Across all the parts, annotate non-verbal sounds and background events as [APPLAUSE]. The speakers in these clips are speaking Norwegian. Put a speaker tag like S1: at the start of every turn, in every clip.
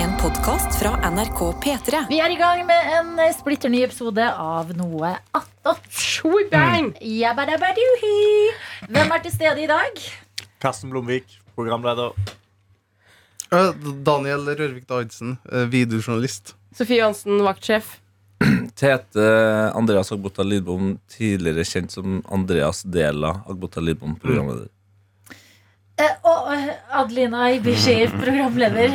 S1: En podkast fra NRK P3.
S2: Vi er i gang med en eh, splitter ny episode av noe attåt.
S3: Showbang!
S2: Jabbadabaduhi. Hvem er til stede i dag?
S4: Karsten Blomvik, programleder.
S5: Eh, Daniel Rørvik Davidsen, eh, videojournalist.
S3: Sofie Johansen, vaktsjef.
S6: Tete Andreas Agbota Lidbom, tidligere kjent som Andreas Dela Agbota Lidbom, programleder.
S2: Eh, og eh, Adelina Ibishir, programleder.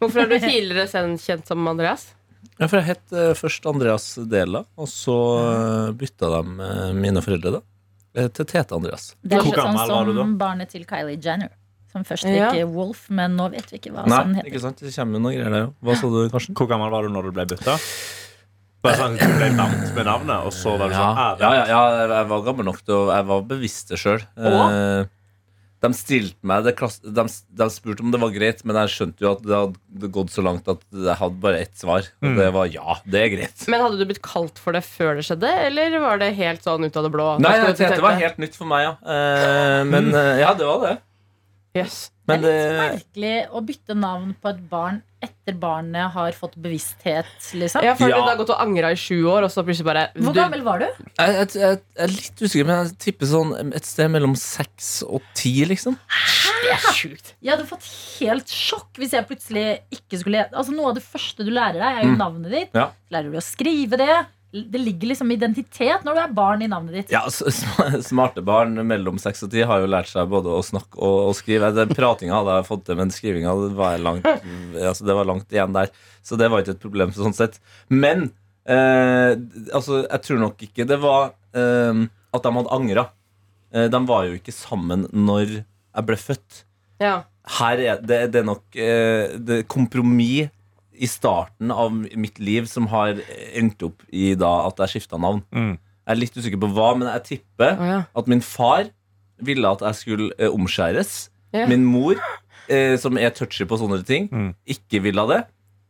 S3: Hvorfor [LAUGHS] har du tidligere sen- kjent som Andreas?
S6: Ja, for jeg het eh, først Andreas Dela, og så eh, bytta de eh, mine foreldre da eh, til Tete Andreas.
S2: Det er
S4: Hvor
S2: litt sånn
S4: gammel var du da?
S2: som barnet til Kylie Jenner. Som først
S3: Ja.
S2: gikk Wolf, men nå vet vi ikke hva som
S6: Nei,
S2: sånn heter.
S6: ikke sant? Det kommer jo noen greier der jo. Hva sa du, Karsten?
S4: Hvor gammel var du når du ble bytta? Bare sånn, Du ble nevnt med navnet, og så var du sånn
S6: Ja,
S4: "Ah, det
S6: ja,
S4: er
S6: ja, jeg- jeg var gammel nok til å Jeg var bevisst det sjøl. De stilte meg det klass, de, de spurte om det var greit, men jeg skjønte jo at det hadde gått så langt at jeg hadde bare ett svar. Og det var ja, det er greit.
S3: Men Hadde du blitt kalt for det før det skjedde, eller var det helt sånn ut av det blå? at
S6: Nei,
S3: du skulle
S6: Tete,
S3: til
S6: var helt nytt for meg, ja. Eh, men eh, ja, det var det.
S3: Yes.
S6: Men eh,
S2: det
S6: det,
S2: er litt merkelig å bytte navn på et barn etter barnet har fått bevissthet, liksom.
S3: Ja, for
S6: Ja.
S3: Du har gått og angra i sju år, og så plutselig bare
S2: Hvor
S3: du,
S2: gammel var du?
S6: jeg, jeg, jeg er litt usikker, men jeg tipper sånn et sted mellom seks og ti, liksom.
S3: Det er sjukt.
S2: Jeg hadde fått helt sjokk hvis jeg plutselig ikke skulle Altså Noe av det første du lærer deg, er jo
S6: Mm.
S2: navnet ditt.
S6: Ja.
S2: Lærer du å skrive det? Det ligger liksom identitet når du er barn i navnet ditt.
S6: Ja, s- sm- Smarte barn mellom seks og ti har jo lært seg både å snakke og å skrive. Den pratinga hadde jeg fått til, men skrivinga det var, jeg langt, altså det var langt igjen der. Så det var ikke et problem sånn sett. Men eh, altså, jeg tror nok ikke det var eh, at de hadde angra. Eh, de var jo ikke sammen når jeg ble født.
S3: Ja.
S6: her er det, det er nok eh, det er kompromiss i starten av mitt liv som har endt opp i da at jeg skifta navn.
S4: Mm.
S6: Jeg er litt usikker på hva, men jeg tipper
S3: Å, ja.
S6: at min far ville at jeg skulle eh, omskjæres.
S3: Ja.
S6: Min mor, eh, som er touchy på sånne ting,
S4: Mm.
S6: ikke ville det.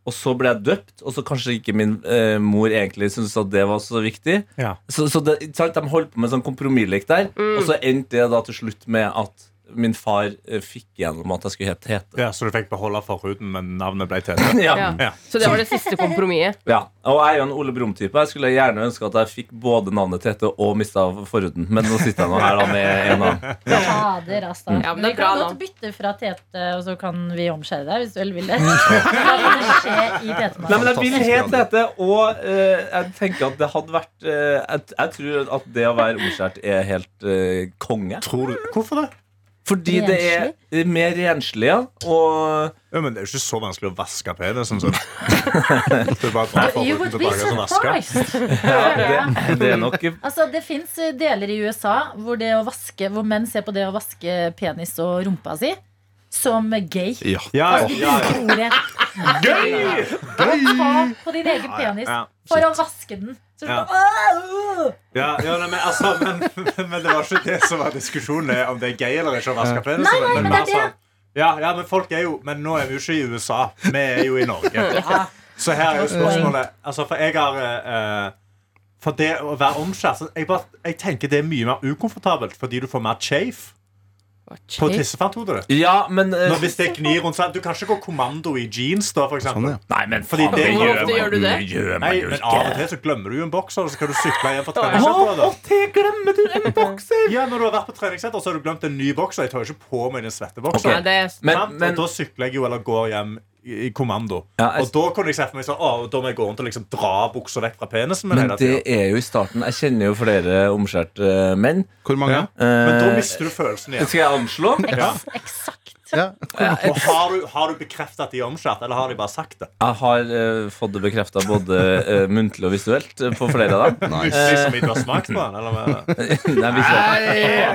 S6: Og så ble jeg døpt, og så kanskje ikke min eh, mor egentlig syntes at det var så viktig.
S4: Ja.
S6: Så, så det, ikke sant? De holdt på med en sånn kompromisslek der,
S3: Mm.
S6: og så endte det da til slutt med at min far eh, fikk gjennom at jeg skulle hete Tete.
S4: Ja, Så du fikk beholde forhuden, men navnet ble Tete?
S6: Ja.
S3: Ja.
S4: Ja.
S3: Så det var det siste kompromisset.
S6: ja. Og jeg er jo en Ole Brumm-type. Jeg skulle gjerne ønske at jeg fikk både navnet Tete og mista forhuden, men nå sitter jeg nå her da med en annen.
S2: Fader, altså.
S6: Mm.
S3: Ja, men
S2: vi
S3: det er bra
S2: kan godt
S3: navn.
S2: bytte fra Tete, og så kan vi omskjære deg, hvis du vel vil
S6: [LAUGHS]
S2: det. La det skje i
S6: Nei,
S2: Tete-mannen.
S6: men jeg vil helt Tete, og eh, jeg tenker at det hadde vært eh, jeg, jeg tror at det å være omskjært er helt eh, konge.
S4: Tror du, Hvorfor det?
S6: Fordi det er eh, mer renslig, ja. Og
S4: Ja, men Det er jo ikke så vanskelig å vaske penisen. Sånn. Du bare drar
S2: You
S4: forhuden
S2: would be
S4: tilbake og så vasker.
S2: surprised.
S6: ja, det, det er nok
S2: Altså, det fins deler i USA hvor, det å vaske, hvor menn ser på det å vaske penis og rumpa si som gay.
S5: Ja.
S4: Ja,
S2: Altså, de
S4: ja, ja.
S2: bruker ordet
S4: Gøy!
S2: ta på din egen
S4: Ja, ja,
S2: penis
S4: ja.
S2: for å vaske den. Så
S4: Ja.
S2: Åh, åh.
S4: Ja, ja, nei, men, altså, men, men det var ikke det som var diskusjonen, det er om det er gøy eller ikke å vaske penisen.
S2: Nei, nei, men
S4: bare
S2: det er det.
S4: sånn- Ja, ja, men folk er jo Men nå er vi jo ikke i USA. Vi er jo i Norge.
S2: [LAUGHS] Ja.
S4: Så her er jo spørsmålet altså, For jeg har eh, eh, For det å være omskjært så jeg, bare- jeg tenker det er mye mer ukomfortabelt fordi du får mer chafe på tissefanthodet ditt.
S6: Ja, men eh,
S4: Når- Hvis det gnir rundt seg Du kan ikke gå kommando i jeans, da, for eksempel.
S5: Sånn, ja.
S6: Nei, men
S4: Fordi det
S3: Hvor
S4: gjør
S3: ofte
S4: man.
S3: gjør du det?
S4: Nei, men av og til så glemmer du jo en bokser, og så skal du sykle hjem fra treningssenteret.
S6: Å,
S4: da.
S6: te, glemmer du en bokser?
S4: Ja, når du har vært på treningssenter, så har du glemt en ny bokser. Jeg tar jo ikke på meg den svette
S3: Nei,
S4: bokseren.
S3: det,
S6: Men,
S4: Sant?
S6: men
S4: og da sykler jeg jo eller går hjem i i kommando.
S6: Ja, jeg-
S4: Og da kunne jeg se for meg sånn, å, da må jeg gå rundt og liksom dra buksa vekk fra penisen min
S6: Men
S4: hele
S6: det
S4: tiden.
S6: er jo i starten. Jeg kjenner jo flere omskjærte eh, menn.
S5: Hvor mange?
S4: Ja. Men da
S6: Eh,
S4: mister du følelsen igjen.
S6: skal jeg anslå?
S4: Ja.
S2: Eksakt.
S5: Ja.
S4: Og har du, har du bekreftet at de er omskjært, eller har de bare sagt det?
S6: Jeg har eh, fått det bekrefta både eh, muntlig og visuelt eh, på flere av dem.
S4: Hvis liksom ikke du har smakt på den? Eller hva?
S6: [LAUGHS] Nei, visuelt.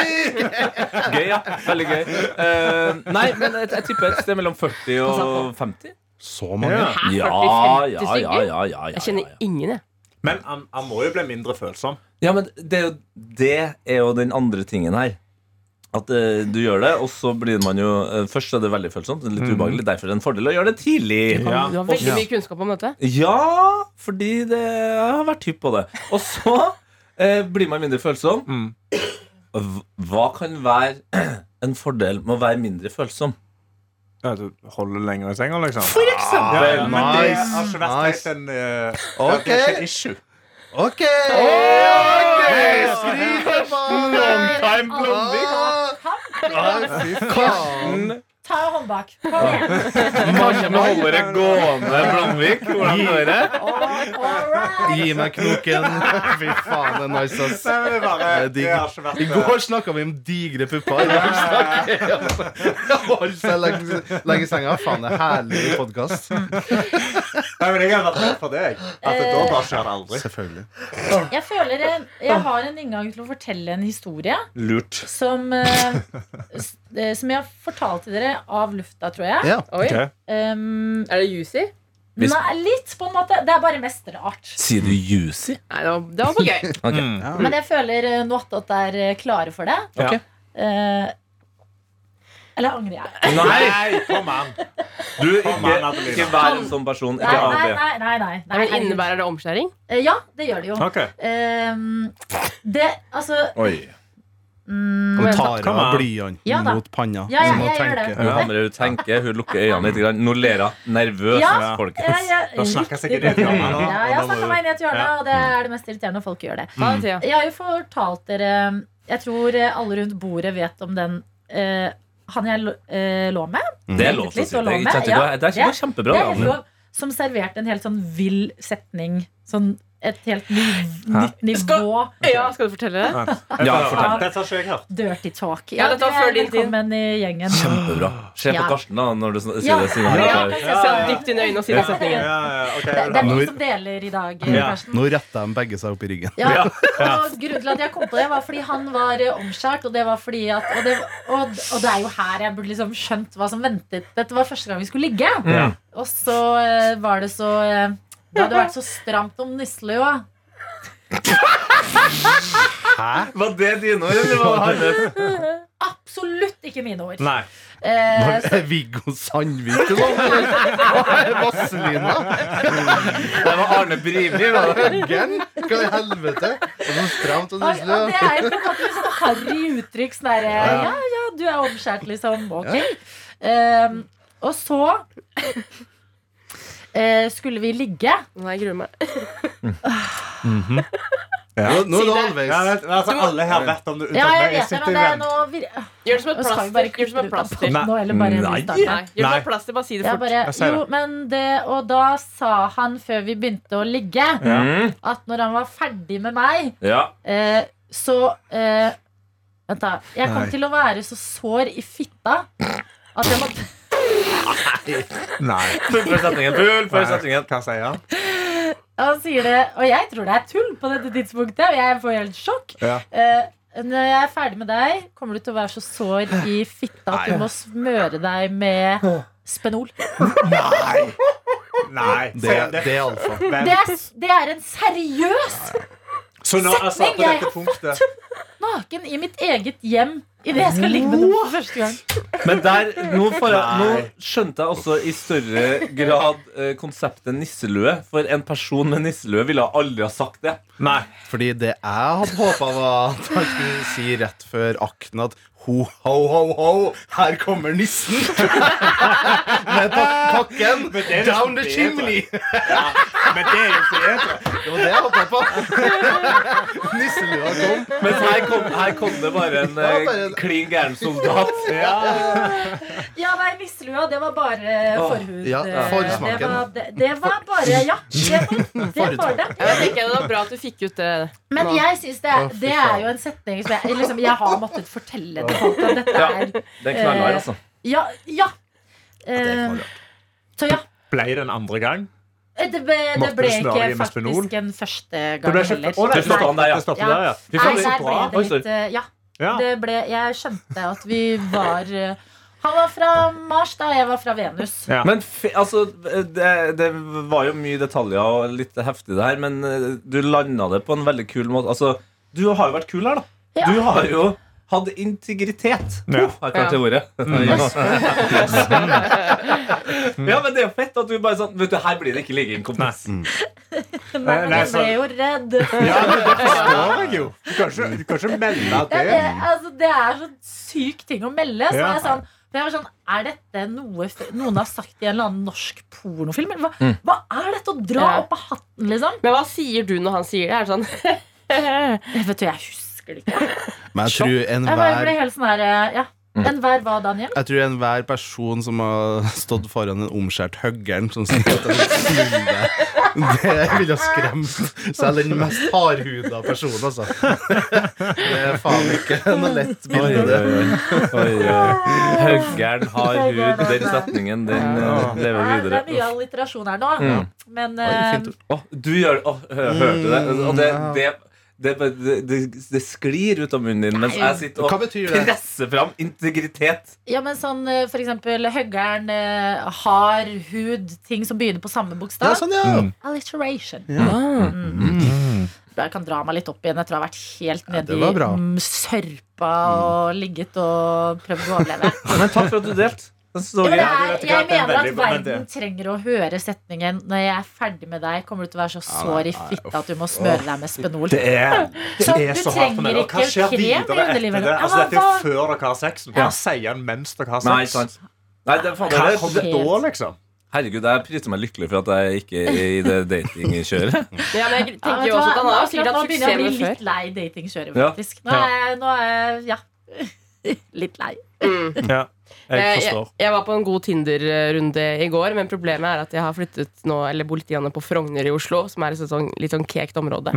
S6: Gøy, ja. Veldig gøy. Eh, nei, men jeg, jeg tipper et sted mellom 40 og 50.
S5: Så mange?
S6: Ja,
S3: 40-50
S6: ja, ja. ja, ja,
S3: jeg
S6: ja,
S3: kjenner
S6: ja.
S3: ingen, jeg.
S4: Men han, han må jo bli mindre følsom.
S6: ja men det er, jo, det er jo den andre tingen her. At eh, du gjør det, og så blir man jo eh, Først er det veldig følsomt, litt ubehagelig. Derfor er det en fordel å gjøre det tidlig.
S4: Mhm. Ja.
S3: Du har
S6: Og
S3: veldig mye kunnskap om dette.
S6: Ja, fordi det, jeg har vært hypp på det. Og så eh, blir man mindre følsom.
S4: Mm.
S6: Hv- Hva kan være en fordel med å være mindre følsom?
S7: Ja, du holder lenger i senga, liksom.
S4: Ja, ja, men det
S5: nice,
S4: har ikke vært helt
S5: nice.
S4: en eh,
S5: Ok.
S4: Det er ikke issue.
S5: OK! Skryt av mannen!
S6: time
S5: Ah. Nei, fy faen.
S2: Ta hånden bak. Kom igjen.
S6: Karsten holder det gående, Blomvik. Hvordan går det?
S2: All right.
S5: Gi meg knoken. Fy faen, det er nice, ass.
S4: Nei, men det, er bare,
S5: Det er digg.
S4: det har ikke vært
S5: I
S4: eh,
S5: går snakka vi om digre pupper. I dag snakker jeg om-
S2: [LAUGHS]
S5: Jeg holder seg lenge- lenge i senga. Faen, det er herlig podkast.
S4: Nei, men jeg har vært redd for deg. At det da bare skjer det aldri.
S5: Selvfølgelig.
S2: Jeg føler en, jeg har en inngang til å fortelle en historie
S4: Lurt.
S2: som, eh, s- eh, som jeg har fortalt til dere av lufta, tror jeg.
S5: Ja.
S3: Oi.
S7: Ok.
S2: Um,
S3: Er det juicy?
S6: Hvis-
S2: nei, litt, på en måte. Det er bare mesterart.
S6: Sier du juicy?
S3: Nei, det var, det var for gøy.
S2: Men jeg føler eh, nå at dere er eh, klare for det.
S6: Ok.
S2: Eh, eller angrer jeg?
S4: Nei, kom an.
S6: Du,
S4: Kom an,
S6: ikke,
S4: Adelina.
S6: ikke vær en sånn person.
S2: Nei,
S6: Ikke
S2: nei,
S6: AB.
S2: nei. nei, nei,
S3: Nei,
S2: nei,
S3: men Innebærer det omskjæring?
S2: Eh, Ja, det gjør det jo.
S4: Ok.
S2: Ehm, det, altså
S6: Oi.
S2: mm,
S5: Hun
S4: Kom
S5: tar
S4: an.
S5: av blyanten
S2: Ja da.
S5: mot panna.
S2: Ja, ja,
S5: Hun må
S2: jeg gjør
S5: tenke.
S6: Hun hamrer ut tenker, hun lukker øynene litt. grann. Nå ler hun nervøs,
S2: Ja. ja,
S6: folkens.
S2: ja,
S4: Da snakker
S2: riktig
S4: sikkert
S2: bra.
S4: jeg om det.
S2: Ja, jeg har snakka meg inn i et hjørne, og det er det mest irriterende når folk gjør det.
S3: Ta det, Thea.
S2: Jeg har jo fortalt dere Jeg tror eh, alle rundt bordet vet om den eh, han jeg lå- eh, lå med.
S6: Det er lov til å si. Det er, ikke- det er, det er ikke kjempebra.
S2: det er helt
S6: Adelina.
S2: lov, som serverte en helt sånn vill setning. Sånn et helt niv nytt nivå.
S3: Ja, skal du fortelle det?
S6: Ja, fortell.
S4: Dette har ikke jeg hørt.
S2: Dirty talk.
S3: Ja, dette var
S2: du er
S3: før din tid.
S2: Velkommen i gjengen.
S6: Kjempebra. Se på
S2: Ja.
S6: Karsten da når du sn-
S2: Ja.
S6: sier det. Siden han
S4: Ja.
S6: er klar.
S3: Jeg ser dypt inn i øynene og sier
S2: Ja,
S3: den setningen.
S4: Ja, ja, ok,
S2: Det, det er
S4: da.
S2: vi som deler i dag,
S4: Ja.
S2: Karsten.
S5: Nå retter de begge seg opp i ryggen.
S2: Ja. Og grunnen til at jeg kom på det, var fordi han var eh, omskjært. Og det var fordi at og det, og, og det er jo her jeg burde liksom skjønt hva som ventet. Dette var første gang vi skulle ligge. Og så eh, var det så eh, Det hadde vært så stramt om nisselua.
S6: Var det dine ord, eller var det Hannes?
S2: Absolutt ikke mine ord.
S4: Nei.
S2: Eh, så,
S5: Viggo Sandvik og sånn? eller? Hva er Vazelina?
S6: Det var Arne Brimi. var det?
S5: Gønn? Hva i helvete? Og så stramt og
S2: og, og
S5: nyselig.
S2: det er jo på en måte litt sånn harry uttrykk. Sånn derre Ja, ja, du er omskjært, liksom. Ok. Eh, og så eh, skulle vi ligge.
S3: Nei, jeg gruer meg.
S5: Nå nå er det
S4: Ja,
S5: halvveis.
S4: men, altså, alle her vet om det. unntatt
S2: Ja, jeg
S4: meg.
S2: vet det,
S4: sitter
S2: men
S4: i
S2: det er
S4: vent.
S2: nå vir
S3: Gjør det som et
S2: Nå skal vi
S3: plaster.
S2: bare
S3: Gjør det som et
S2: kutte ut
S3: plaster.
S2: av
S4: Nei.
S2: nå, eller bare
S6: Nei.
S2: restarte.
S3: Nei, gjør det som
S4: Nei.
S3: et plaster. Bare si det
S2: Jeg
S3: fort.
S2: bare,
S4: Jeg ser det.
S2: jo, men det, og da sa han før vi begynte å ligge,
S6: Mm.
S2: at når han var ferdig med meg,
S6: Ja.
S2: eh, så eh, Vent, da. Jeg kom
S5: Nei.
S2: til å være så sår i fitta at jeg måtte
S4: Nei.
S6: Fullfør setningen. Fullfør setningen.
S4: Hva sier han?
S2: Han sier det, og jeg tror det er tull på dette tidspunktet, og jeg får helt sjokk.
S4: Ja.
S2: Eh, når jeg er ferdig med deg, kommer du til å være så sår i fitta at du må smøre deg med Spenol.
S4: Nei.
S5: Det,
S4: sier han
S5: det er alfa.
S4: Vent.
S2: Det er, det er en seriøs
S4: Så nå, altså,
S2: setning
S4: på
S2: jeg
S4: dette
S2: har
S4: punktet
S2: naken i mitt eget hjem idet jeg skal ligge med den for første gang.
S6: Men der, nå, får jeg, nå
S4: Nei.
S6: skjønte jeg også i større grad eh, konseptet nisselue. For en person med nisselue ville aldri ha sagt det.
S4: Nei.
S5: Fordi det jeg hadde håpa, var at han skulle si rett før akten at ho, ho, ho, ho, her kommer nissen! Med pak pakken
S4: Men det er liksom
S5: down the
S4: bedre.
S5: chimney!
S4: Men det er jo bedre.
S5: Det var det jeg håpa på. Nisselua kom.
S6: Mens her kom, her kom det bare en
S5: Ja,
S6: eh,
S5: bare en-
S6: klin gæren soldat. [LAUGHS]
S2: Ja, nei, nisselua, det var bare forhud.
S5: ja,
S2: eh,
S5: forsmaken.
S2: Det var, det, det var bare Ja, det
S4: [LAUGHS]
S2: var det. Var det.
S3: Jeg tenker Det var bra at du fikk ut
S8: eh,
S3: det.
S2: Men
S3: Nå.
S2: jeg syns det,
S5: Å, fy
S2: det er jo en setning som jeg liksom, Jeg har måttet fortelle til folk at dette
S6: Ja.
S2: er
S6: Det er knallhard, altså.
S2: Ja. ja. Eh, så ja. Eh,
S4: Ble det en andre gang?
S2: Det ble, det
S4: Måtte
S2: ble
S4: du smøre
S2: ikke
S4: deg med Spenol?
S2: faktisk en første
S4: Det
S2: gang
S4: ble
S2: heller.
S4: ikke Å, nei,
S6: Det stoppet han der, ja.
S4: det stoppet der, ja.
S6: Fy
S2: Nei,
S6: faen, det er
S2: der
S6: så
S2: ble
S6: bra.
S2: det
S6: Oi, sorry.
S2: litt eh, Ja.
S4: ja.
S2: Det ble, jeg skjønte at vi var eh, Han var fra Mars da, jeg var fra Venus.
S4: Ja.
S6: Men fi- altså, det, det var jo mye detaljer og litt heftig det her, men eh, du landa det på en veldig kul måte. Altså, du har jo vært kul her, da.
S2: Ja.
S6: Du har jo hatt integritet.
S4: Ja.
S6: Uff, jeg kan ikke ordet.
S2: [LAUGHS]
S6: ja, men det er jo fett at du bare sånn Vet du, her blir det ikke ligging. kompis.
S2: Nei, men
S4: Nei,
S2: jeg ble
S4: så-
S2: jo redd.
S4: Ja, men det forstår jeg jo. Du kan ikke- du kan ikke melde
S2: Ja,
S4: det.
S2: det, altså, det er sånn syk ting å melde. Så
S4: Ja.
S2: er jeg sånn For jeg var sånn, Er dette noe f- noen har sagt i en eller annen norsk pornofilm? Eller Hva, hva er dette å dra
S8: Ja.
S2: opp av hatten, liksom?
S8: Men hva sier du når han sier det? Er det sånn [LAUGHS]
S2: Jeg vet du, jeg husker det ikke.
S5: Men jeg tror
S2: Jeg bare ble
S5: enhver
S2: helt sånn her eh, ja. Enhver hva, Daniel?
S5: jeg tror enhver person som har stått foran en omskjært høggern som sier at den sviver, det ville ha skremt selv den mest hardhuda personen, altså. Det er faen ikke noe lett
S6: Oi,
S5: bilde.
S6: oi,
S5: det.
S6: oi.
S2: [LAUGHS]
S6: oi, oi. Høggern har hud. Den setningen den eh, lever
S2: Ja, Det
S6: videre.
S2: er mye alliterasjon her nå.
S6: Mm.
S2: Men
S5: Oi,
S2: eh,
S5: fint ord.
S6: Åh, du gjør det! Åh, hø- hørte du det? Og det,
S5: Mm,
S6: det, det, bare- det, det, det sklir ut av munnen din mens jeg sitter
S5: Hva
S6: og
S5: betyr det?
S6: presser fram integritet.
S2: Ja, men sånn eh, for eksempel høggeren, eh, hard hud, ting som begynner på samme
S5: Ja,
S2: bokstav.
S5: sånn, ja.
S2: Alliteration.
S8: ah.
S2: Der kan dra meg litt opp igjen etter å ha vært helt nedi
S5: det var bra.
S2: mm, sørpa og ligget og prøvd å overleve.
S6: Men takk for at du delte. Den
S2: Jo,
S6: står
S2: men
S6: i-
S2: det
S4: du
S2: er,
S4: vet ikke
S2: jeg
S4: at det er
S2: mener at
S4: veldig- men
S2: verden trenger å høre setningen 'Når jeg er ferdig med deg, kommer du til å være så sår i fitta at du må smøre deg med Spenol'.
S4: Det er, det
S2: Så
S4: er
S2: du
S4: så hardt for meg.
S2: trenger
S4: Og hva
S2: ikke
S4: skjer
S2: krem i
S4: videre etter
S2: underlivet?
S4: det? Altså,
S2: Ja,
S4: dette
S2: hva-
S4: er jo før dere har sex. Hva sier han mens dere
S8: Altså,
S4: har sex?
S6: Nei, sant. Nei, det er faen,
S4: Hva
S6: det er-
S4: kommer da, liksom?
S6: Herregud, jeg priser meg lykkelig for at jeg ikke er i det
S8: [LAUGHS]
S6: datingkjøret.
S8: Ja, men jeg
S2: Ja,
S8: tenker
S2: vet du
S8: jo også
S2: hva?
S8: at han har jo
S2: Akkurat
S8: sikkert
S2: nå
S8: hatt
S2: begynner
S8: suksess
S2: jeg å
S8: med
S2: bli
S8: før.
S2: litt lei datingkjøret,
S6: Ja.
S2: faktisk. Nå er jeg, nå er jeg ja. [LAUGHS] litt lei.
S7: Ja, jeg
S8: Eh,
S7: forstår.
S8: Jeg var på en god Tinder-runde i går, men problemet er at jeg har flyttet nå, eller bor litt grann på Frogner i Oslo, som er et sånn, litt sånn kekt område.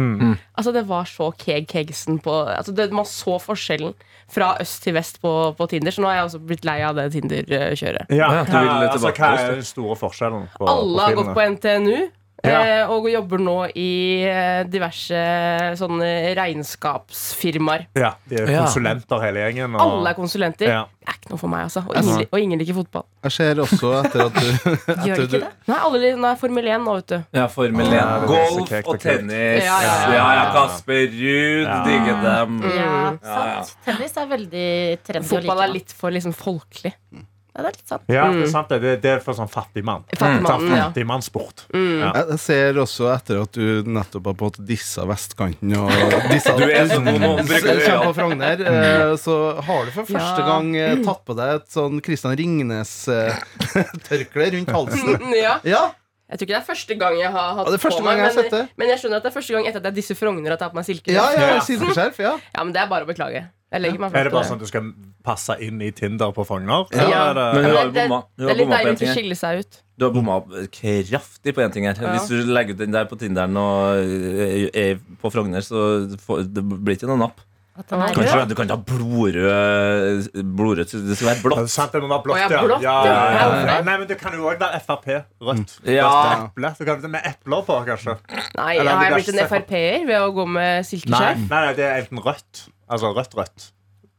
S8: Altså, det var så keg kegsen på altså, det, Man så forskjellen fra øst til vest på, på Tinder, så nå har jeg også blitt lei av det Tinder-kjøret.
S7: Ja,
S6: Ja, du vil
S7: hva- altså,
S6: tilbake
S7: hva
S6: til
S7: er
S6: oss,
S7: den store forskjellen på
S8: Alle har gått
S7: profilene?
S8: på NTNU.
S7: Ja.
S8: eh, Og jobber nå i eh, diverse eh, sånne regnskapsfirmaer.
S7: Ja, de er konsulenter hele gjengen. Og...
S8: Alle er konsulenter.
S7: Ja.
S8: Det er ikke noe for meg, altså. Og ingen, og ingen liker fotball.
S5: Jeg ser også etter at du
S2: [LAUGHS] Gjør
S5: etter
S2: det
S5: du
S2: ikke det?
S8: Nei, alle, li- nå er jeg Formel 1 nå, vet du.
S6: Ja, Formel 1.
S7: Ja, det er
S6: Golf
S7: så kekt og
S6: og
S7: kult.
S6: tennis. Ja,
S8: Ja,
S6: ja,
S8: ja,
S7: ja.
S6: Kasper Ruud. Digger dem.
S2: Ja,
S8: Mm.
S6: Ja, ja.
S2: sant. Tennis er veldig trendy. å
S8: Fotball
S2: like
S8: er
S2: nå.
S8: litt for liksom folkelig.
S2: Mm. Ja, det er litt sant.
S4: Ja, det er sant. det. Det, det er for sånn fattigmann.
S8: Fattigmannen, Mm, ja.
S4: Fattigmannssport.
S5: Jeg ser også etter at du nettopp har fått dissa vestkanten og dissa
S6: Du er så god nå, du bruker det, ja.
S5: Kjem på Frogner, eh, så har du for første
S8: Ja.
S5: gang eh, tatt på deg et sånn Kristian [LAUGHS] Ringnes-tørkle rundt halsen.
S2: Mm.
S8: Mm, Ja.
S5: Ja,
S8: Jeg tror ikke det er første gang jeg har hatt
S5: Ja, det er første
S8: på meg,
S5: gang jeg har
S8: men,
S5: sett det.
S8: men jeg skjønner at det er første gang etter at jeg disser Frogner at jeg har på meg silke.
S5: ja, ja, silkeskjerf. Ja.
S8: Ja, men det er bare å beklage. Jeg legger meg
S4: Er
S8: flat
S4: det bare
S8: på
S4: sånn at du skal passe inn i Tinder på Frogner?
S8: Ja.
S4: Eller er det-
S6: Men hun har jo
S8: det,
S6: bomma. Hun
S8: det
S6: har
S8: er litt
S6: bomma på en
S8: deilig
S6: ting
S8: å
S6: her.
S8: skille seg ut.
S6: Du har bomma kraftig på en ting her. Hvis du legger ut den der på Tinderen og eh, er på Frogner, så får, det blir ikke noe napp.
S2: At den er rød.
S6: Kan ikke, du kan ikke ha blodrød blodrødt. så Det skal
S4: Ja,
S6: være
S4: det er
S6: blått.
S4: sant, det må være blått,
S8: Å, ja, blått,
S4: ja, ja, ja,
S8: ja.
S4: ja. Nei, men det kan jo òg være Frp. Rødt.
S6: Ja.
S4: Rødt eple. Du kan, med epler på, kanskje.
S8: Nei,
S4: Eller
S8: har
S4: det
S8: jeg
S4: er
S8: blitt en
S4: ikke så-
S8: Frp-er ved å gå med
S4: Nei,
S8: silkeskjerf?
S4: nei, nei, det er enten rødt. Altså rødt-rødt.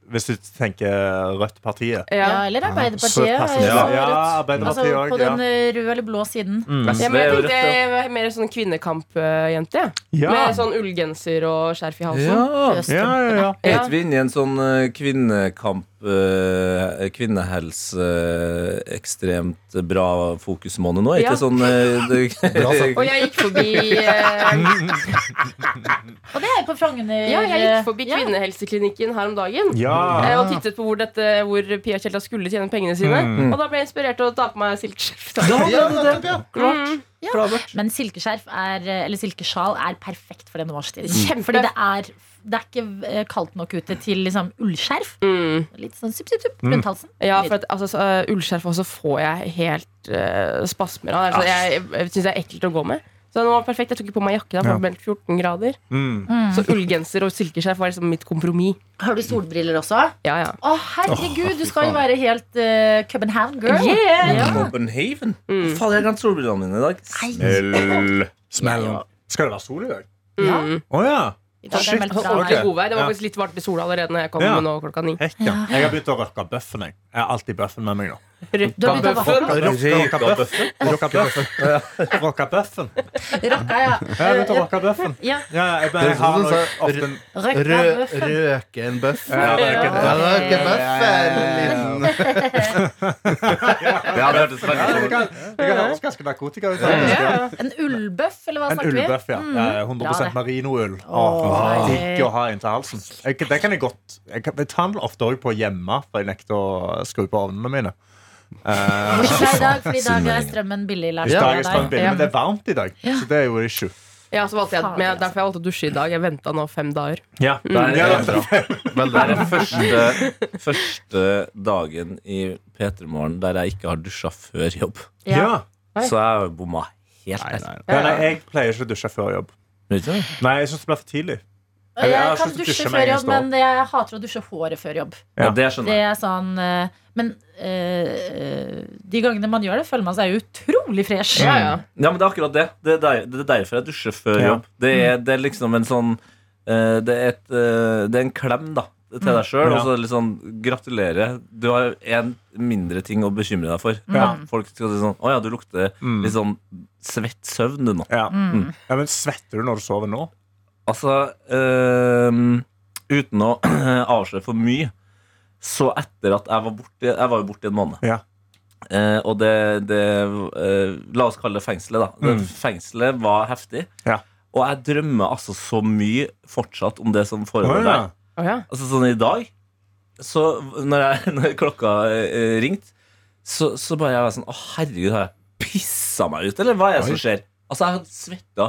S4: Hvis du tenker Rødt-partiet.
S2: Ja,
S8: Ja.
S2: eller
S4: Så
S2: Arbeiderpartiet. er
S4: passer
S2: jo
S4: det.
S2: rødt.
S4: Ja,
S2: Altså,
S4: Arbeiderpartiet
S2: på
S4: òg.
S2: den
S4: Ja. Mm.
S2: eh, røde eller blå siden.
S8: Ja, men
S6: Mm. Det er
S8: jeg tenkte
S6: jo rødt, ja.
S8: jeg var mer sånn kvinnekampjente. jeg.
S7: Ja.
S8: Med sånn ullgenser og skjerf i halsen.
S6: Ja.
S2: Øst.
S7: Ja, ja, ja.
S8: Ja.
S6: Heter vi inne i en sånn eh, kvinnekamp, eh, kvinnehelse, eh, ekstremt bra fokusmåned nå? Er
S8: Ja.
S6: ikke sånn eh, det,
S5: Bra
S6: [LAUGHS]
S5: sagt.
S8: Og jeg gikk forbi eh,
S2: Og det er jo på Frogner. eh,
S8: Ja, jeg gikk forbi
S2: Ja.
S8: kvinnehelseklinikken her om dagen.
S7: Ja.
S8: Eh, Og tittet på hvor, dette, hvor Pia Kjelta skulle tjene pengene sine. Og da ble jeg inspirert til å ta på meg silkeskjerf.
S5: Ja, nettopp, ja.
S2: Men silkeskjerf er, eller silkesjal er perfekt for denne årstiden.
S8: Kjempe.
S2: Fordi det er, det er ikke eh, kaldt nok ute til liksom, ullskjerf.
S8: Mm.
S2: Litt sånn supp, supp, supp
S4: Mm.
S2: rundt halsen.
S8: [LAUGHS] Ja, for at, altså, så, eh, ullskjerf også får jeg helt eh, spasmer av. Altså, jeg jeg syns det er ekkelt å gå med. Så den var perfekt, Jeg tok ikke på meg jakke, da, for det ble 14 grader.
S4: Mm.
S8: Så ullgenser og silkeskjerf var liksom mitt kompromiss.
S2: Har du solbriller også?
S8: Ja, ja.
S2: Å, herregud, du skal jo være helt eh, København girl.
S6: Ja.
S4: Mm.
S6: Copenhagen? Faen, jeg har glemt solbrillene mine i dag.
S4: Smell. Skal det være sol i dag?
S2: Ja.
S8: Mm.
S4: Å ja.
S2: I dag er det meldt
S8: Og
S2: bra.
S8: ordentlig
S4: Ok.
S8: godvær. Det var
S4: Ja.
S8: faktisk litt varmt i sola allerede når jeg kom
S4: Ja.
S8: nå klokka ni.
S4: Hekk, ja. Jeg har begynt å røkke bøffen. Jeg Jeg har alltid bøffen med meg nå.
S2: Du har begynt å
S8: [LAUGHS] Bøffen.
S2: rocka,
S4: Rocka bøffen? Rocka bøffen. Rocka bøffen.
S2: Rocka, ja.
S4: Jeg har begynt å rocke bøffen.
S2: Ja.
S4: Ja, jeg, jeg, jeg har nok ofte en
S2: Røkka
S5: Rø
S2: bøffen.
S5: Røken bøff. eh,
S4: Ja, røken bøff.
S5: Ja, røken bøff er en liten
S6: Ja, det hørtes veldig
S4: Det
S6: sånn ut.
S4: kan, det kan høres ganske narkotika ut.
S8: Ja.
S2: En ullbøff, eller hva
S4: En
S2: snakker vi?
S4: ullbøff, ja. Eh, 100
S2: Mm. Ja, det.
S4: merinoull.
S2: Åh,
S4: Digg å ha inntil halsen. Jeg, den kan jeg godt Jeg, kan- jeg tar den ofte også på hjemme, for jeg nekter å skru på ovnene mine. Eh,
S2: Ikke i dag, fordi i dag er strømmen billig. Lars.
S4: hvis
S2: Ja,
S4: dagen
S2: det er
S4: står billig,
S2: deg.
S4: Men det er varmt i dag, så det er jo issue.
S8: Ja, så valgte jeg,
S2: Fader,
S8: men jeg-
S2: altså.
S8: derfor jeg valgte å dusje i dag. Jeg venta nå fem dager.
S4: Ja,
S6: Det er-
S4: det er bra.
S6: Det er den første, første dagen i P3 Morgen der jeg ikke har dusja før jobb.
S4: Ja.
S6: Så jeg har jo bomma helt.
S5: Nei, nei, nei.
S4: Ja, nei, jeg pleier ikke å dusje før jobb.
S6: Vet du det?
S4: Nei, jeg syns det blir for tidlig.
S2: Og
S4: Jeg har
S2: Jeg kan
S4: sluttet å dusje
S2: dusje
S4: med en
S2: før jobb,
S4: gang
S2: men jeg hater å dusje håret før jobb.
S6: Ja, det skjønner
S2: Det
S6: jeg.
S2: er sånn eh, Men eh, de gangene man gjør det, føler man seg utrolig fresh.
S8: Ja, ja.
S6: Ja, men det er akkurat det. Det er, der, det er derfor jeg dusjer før
S4: Ja.
S6: jobb. Det er, det er liksom en sånn eh, det er, et, eh, det er en klem, da. Til deg sjøl. Og så er det litt sånn Gratulerer. Du har en mindre ting å bekymre deg for.
S4: Ja.
S6: Folk skal si sånn Å ja, du lukter litt sånn svett søvn, du nå.
S4: Mm. Ja.
S2: Mm.
S4: Ja, men Svetter du når du sover nå?
S6: Altså, øhm, uten å [CLEARS THROAT] avsløre for mye, så etter at jeg var borte Jeg var jo borte i en måned.
S4: Ja.
S6: Eh, og det, det eh, La oss kalle det fengselet, da.
S8: Mm.
S6: Det Fengselet var heftig.
S4: Ja.
S6: Og jeg drømmer altså så mye fortsatt om det som foregår der.
S8: Å ja.
S6: Altså sånn i dag Så når, jeg, [LAUGHS] når klokka eh, ringte så, så bare jeg var sånn Å herregud, har jeg pissa meg ut? Eller hva er det som skjer? Altså jeg hadde svetta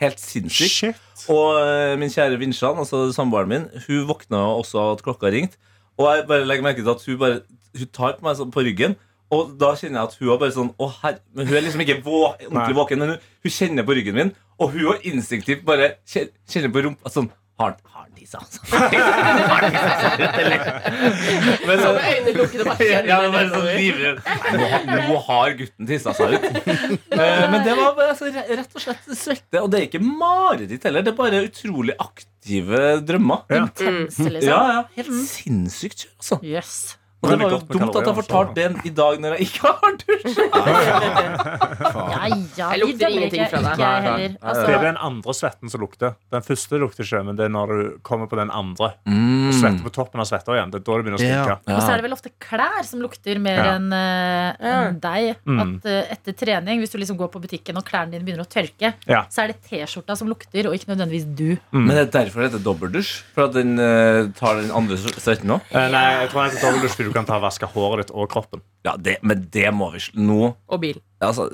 S6: helt sinnssykt
S4: Shit.
S6: Og eh, min kjære Vinsjan, altså samboeren min Hun våkna også av at klokka ringte Og jeg bare legger merke til at hun bare Hun tar på meg sånn på ryggen og da kjenner jeg at hun er bare sånn Å herre Men hun er liksom ikke vå ordentlig våken Men hun, hun kjenner på ryggen min Og hun er instinktivt bare kjen- kjenner på rumpa Sånn Har han- har han tissa? [LAUGHS] Har han tissa? Men sånn,
S8: Så
S6: så,
S8: med øynene lukkede bare
S6: ja,
S8: kjenner
S6: det var
S8: nedover.
S6: sånn livredd. Nå, nå har gutten tissa seg ut. [LAUGHS] Eh, Men det var bare, altså, re- rett og slett svette. Og det er ikke mareritt heller. Det er bare utrolig aktive drømmer.
S2: Intense,
S6: Mm. Ja,
S2: liksom.
S6: ja, Helt sinnssykt kjør, altså.
S2: Yes.
S6: Og det
S4: Veldig
S6: var jo
S4: godt med
S6: dumt at jeg
S4: kalorier,
S6: fortalte den i dag når jeg ikke har dusj.
S2: Ja, ja,
S8: Jeg
S2: vi
S8: lukter
S2: dømmer
S8: ingenting
S2: ikke.
S8: fra deg.
S2: Ikke jeg heller.
S4: Det er
S2: Altså,
S4: den andre svetten som lukter. Den første lukter ikke, men det er når du kommer på den andre. Og
S6: Mm.
S4: svetter på toppen av svetta igjen. Det er da det begynner å
S5: Ja.
S4: stinke.
S2: og så er det vel ofte klær som lukter mer
S4: Ja.
S2: enn eh, enn deg.
S4: Mm.
S2: At eh, etter trening, hvis du liksom går på butikken og klærne dine begynner å tørke,
S4: Ja.
S2: så er det T-skjorta som lukter, og ikke nødvendigvis du.
S6: Men det er derfor det heter dobbeldusj. For at den eh, tar den andre svetten òg.
S4: Eh, nei, jeg tror jeg tar dobbeltdusj fordi du kan ta og vaske håret ditt og kroppen.
S6: Ja, det, men det må vi sl- Nå
S8: Og bil.
S6: altså,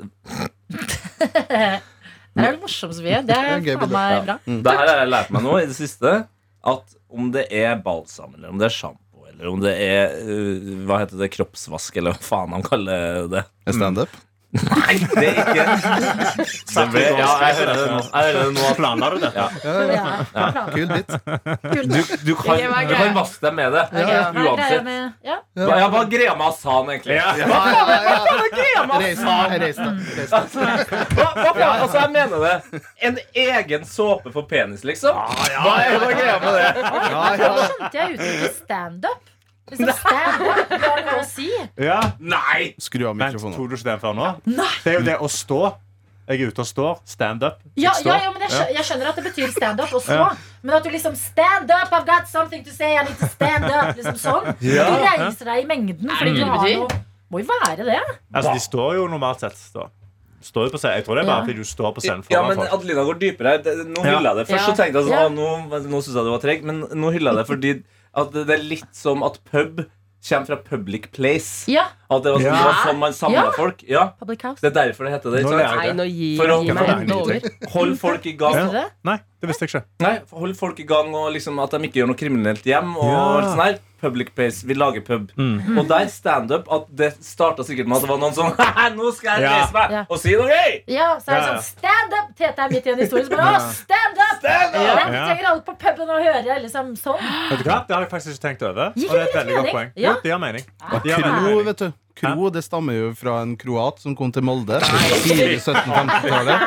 S2: Det er vel morsomt, Sofie. Det er
S5: Det er gøy
S2: faen
S5: bilde.
S2: meg
S5: Ja.
S2: bra.
S6: Det her har jeg lært meg nå i det siste. At om det er balsam, eller om det er sjampo, eller om det er øh, hva heter det, kroppsvask, eller hva faen han kaller det
S5: Standup?
S6: Nei, det er ikke det ble, ja, jeg hører det nå. Jeg hører det nå.
S4: Planla du det?
S6: Ja.
S2: Ja.
S5: Kul bit.
S6: Du, du, kan,
S8: Det var
S6: du
S8: gøy.
S6: kan vaske deg med det.
S8: ja.
S2: Hva er greia
S6: Uansett.
S2: med ja.
S6: Hva, ja, hva greia med Hassan, egentlig?
S4: Ja.
S5: Ja, ja, ja, ja. Reis deg.
S6: [LAUGHS]
S5: Reis deg. Reis deg.
S6: Altså, Hva, hva, faen? altså, jeg mener det. En egen såpe for penis, liksom? Hva er hva er greia med det?
S5: Ja, ja.
S2: Det er uttrykket standup. Liksom standup, hva har det å si?
S4: Ja.
S6: Nei!
S5: Skru av
S4: Men
S5: mikrofonen.
S4: tok du ikke den før nå?
S2: Nei.
S4: Det er jo det å stå. Jeg er ute og står. Standup.
S2: Ja,
S4: Stå.
S2: ja, ja, men jeg, skjø- jeg skjønner at det betyr standup og så,
S4: Ja.
S2: men at du liksom Stand up, I've got something to say, I need to stand up. Liksom sånn.
S4: Ja.
S2: Du reiser deg i mengden. Fordi
S8: det
S2: du
S8: det
S2: har
S8: betyr?
S2: noe Må jo være det.
S4: Altså, de står jo normalt sett. Da. Står jo på scenen. Jeg tror det er bare
S2: Ja.
S4: fordi du står på scenen
S6: Ja,
S4: foran
S6: men
S4: folk.
S6: Adelina går dypere her. Det- Nå
S4: Ja.
S6: hyller jeg det. Først
S8: Ja.
S6: så tenkte jeg sånn,
S2: Ja.
S6: «Å, nå, nå synes jeg du var treg, men nå hyller jeg det fordi at det er litt som at pub kommer fra public place.
S2: Ja.
S6: At det var, sånn-
S4: Ja.
S6: det var sånn man samla
S2: Ja.
S6: folk. Ja,
S2: Public house.
S6: Det er derfor det heter det.
S4: Nå
S6: ikke sant?
S8: Nei,
S4: lærer jeg det.
S8: nå gi,
S6: For å-
S8: gi meg
S4: For å-
S8: hendene over.
S6: Hold folk i gang.
S4: Ja.
S2: Visste du det?
S4: Nei, det visste jeg ikke.
S6: Nei, hold folk i gang og liksom at de ikke gjør noe kriminelt hjem. Og
S4: Ja.
S6: alt sånn her Public place. Vi lager pub. Og der standup at det starta sikkert med at det var noen som [LAUGHS] «Haha, Nå skal jeg
S4: Ja.
S6: reise meg
S2: Ja.
S6: og si noe gøy!
S2: Ja, så er det
S4: Ja, ja.
S2: sånn stand up! Tete er midt i en historie. Så bare, «Å, stand up! Ja. Den
S4: Ja.
S2: trenger alle på puben å høre. Liksom sånn.
S4: [GASPS] Vet du hva? Det har jeg faktisk ikke tenkt over. Og
S2: Gir
S4: det er et
S2: det litt
S4: veldig godt
S2: mening?
S4: poeng.
S2: Ja. Ah.
S4: Jo, det gir mening. Det gir veldig
S5: Kro,
S4: mening.
S5: vet du. Kro det stammer jo fra en kroat som kom til Molde på 1750-tallet.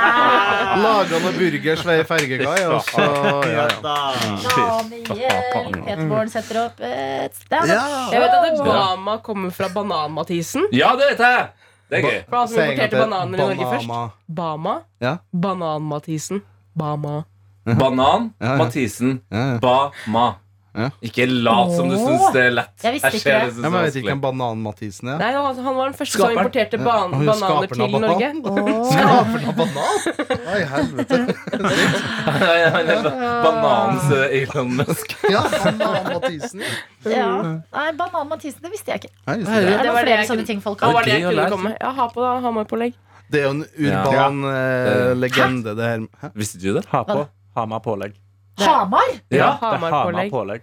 S5: Laga noen burgers ved ei fergekai, og så ja, ja.
S2: Daniel Peterborn setter opp et stand up.
S5: Ja.
S8: Jeg vet at det Bama kommer fra Banan-Mathisen.
S6: Ja, det vet jeg! Det er gøy.
S8: For han som
S5: Si en gang
S8: importerte
S5: til.
S8: bananer i Norge først.
S5: Banama.
S8: Bama.
S5: Ja.
S8: Banan-Mathisen. Bama.
S6: Banan,
S5: Ja, ja.
S6: Mathisen,
S5: Ja, ja.
S6: Ba-ma. Ikke lat som du
S2: Åh.
S6: syns det er lett.
S2: Jeg visste
S6: ser
S2: ikke det.
S6: det som
S5: Ja, men jeg vet
S6: vanskelig.
S5: ikke
S6: [LAUGHS]
S5: hvem Banan-Mathisen er.
S8: Nei, altså, han, han var den første som
S6: Skaperen.
S8: importerte ban
S5: Ja, han er jo
S8: bananer
S5: skaperen av
S8: til
S5: banan.
S8: Norge.
S5: Skaperen av
S8: [LAUGHS]
S5: banan? Nei, helvete.
S6: Han er Bananens eh, Elon Musk.
S5: Ja, Banan-Mathisen. ja.
S2: Ja. Nei, Banan Mathisen, det visste jeg ikke.
S5: Nei, visste
S2: Det,
S5: det.
S2: var
S8: var det
S2: flere
S8: jeg
S2: sånne
S8: kunne-
S2: ting folk
S8: Han
S2: har.
S8: var det jeg
S6: gøy å
S8: kunne
S6: lære.
S8: komme. Ja, ha på da, Hamar-pålegg.
S5: det er jo en urban eh, legende, det her. Hæ?
S6: Visste du det?
S4: Ha på. Hamar pålegg.
S2: Hamar!
S4: Ja, det er Hamar
S8: Hamar-pålegg.
S4: pålegg.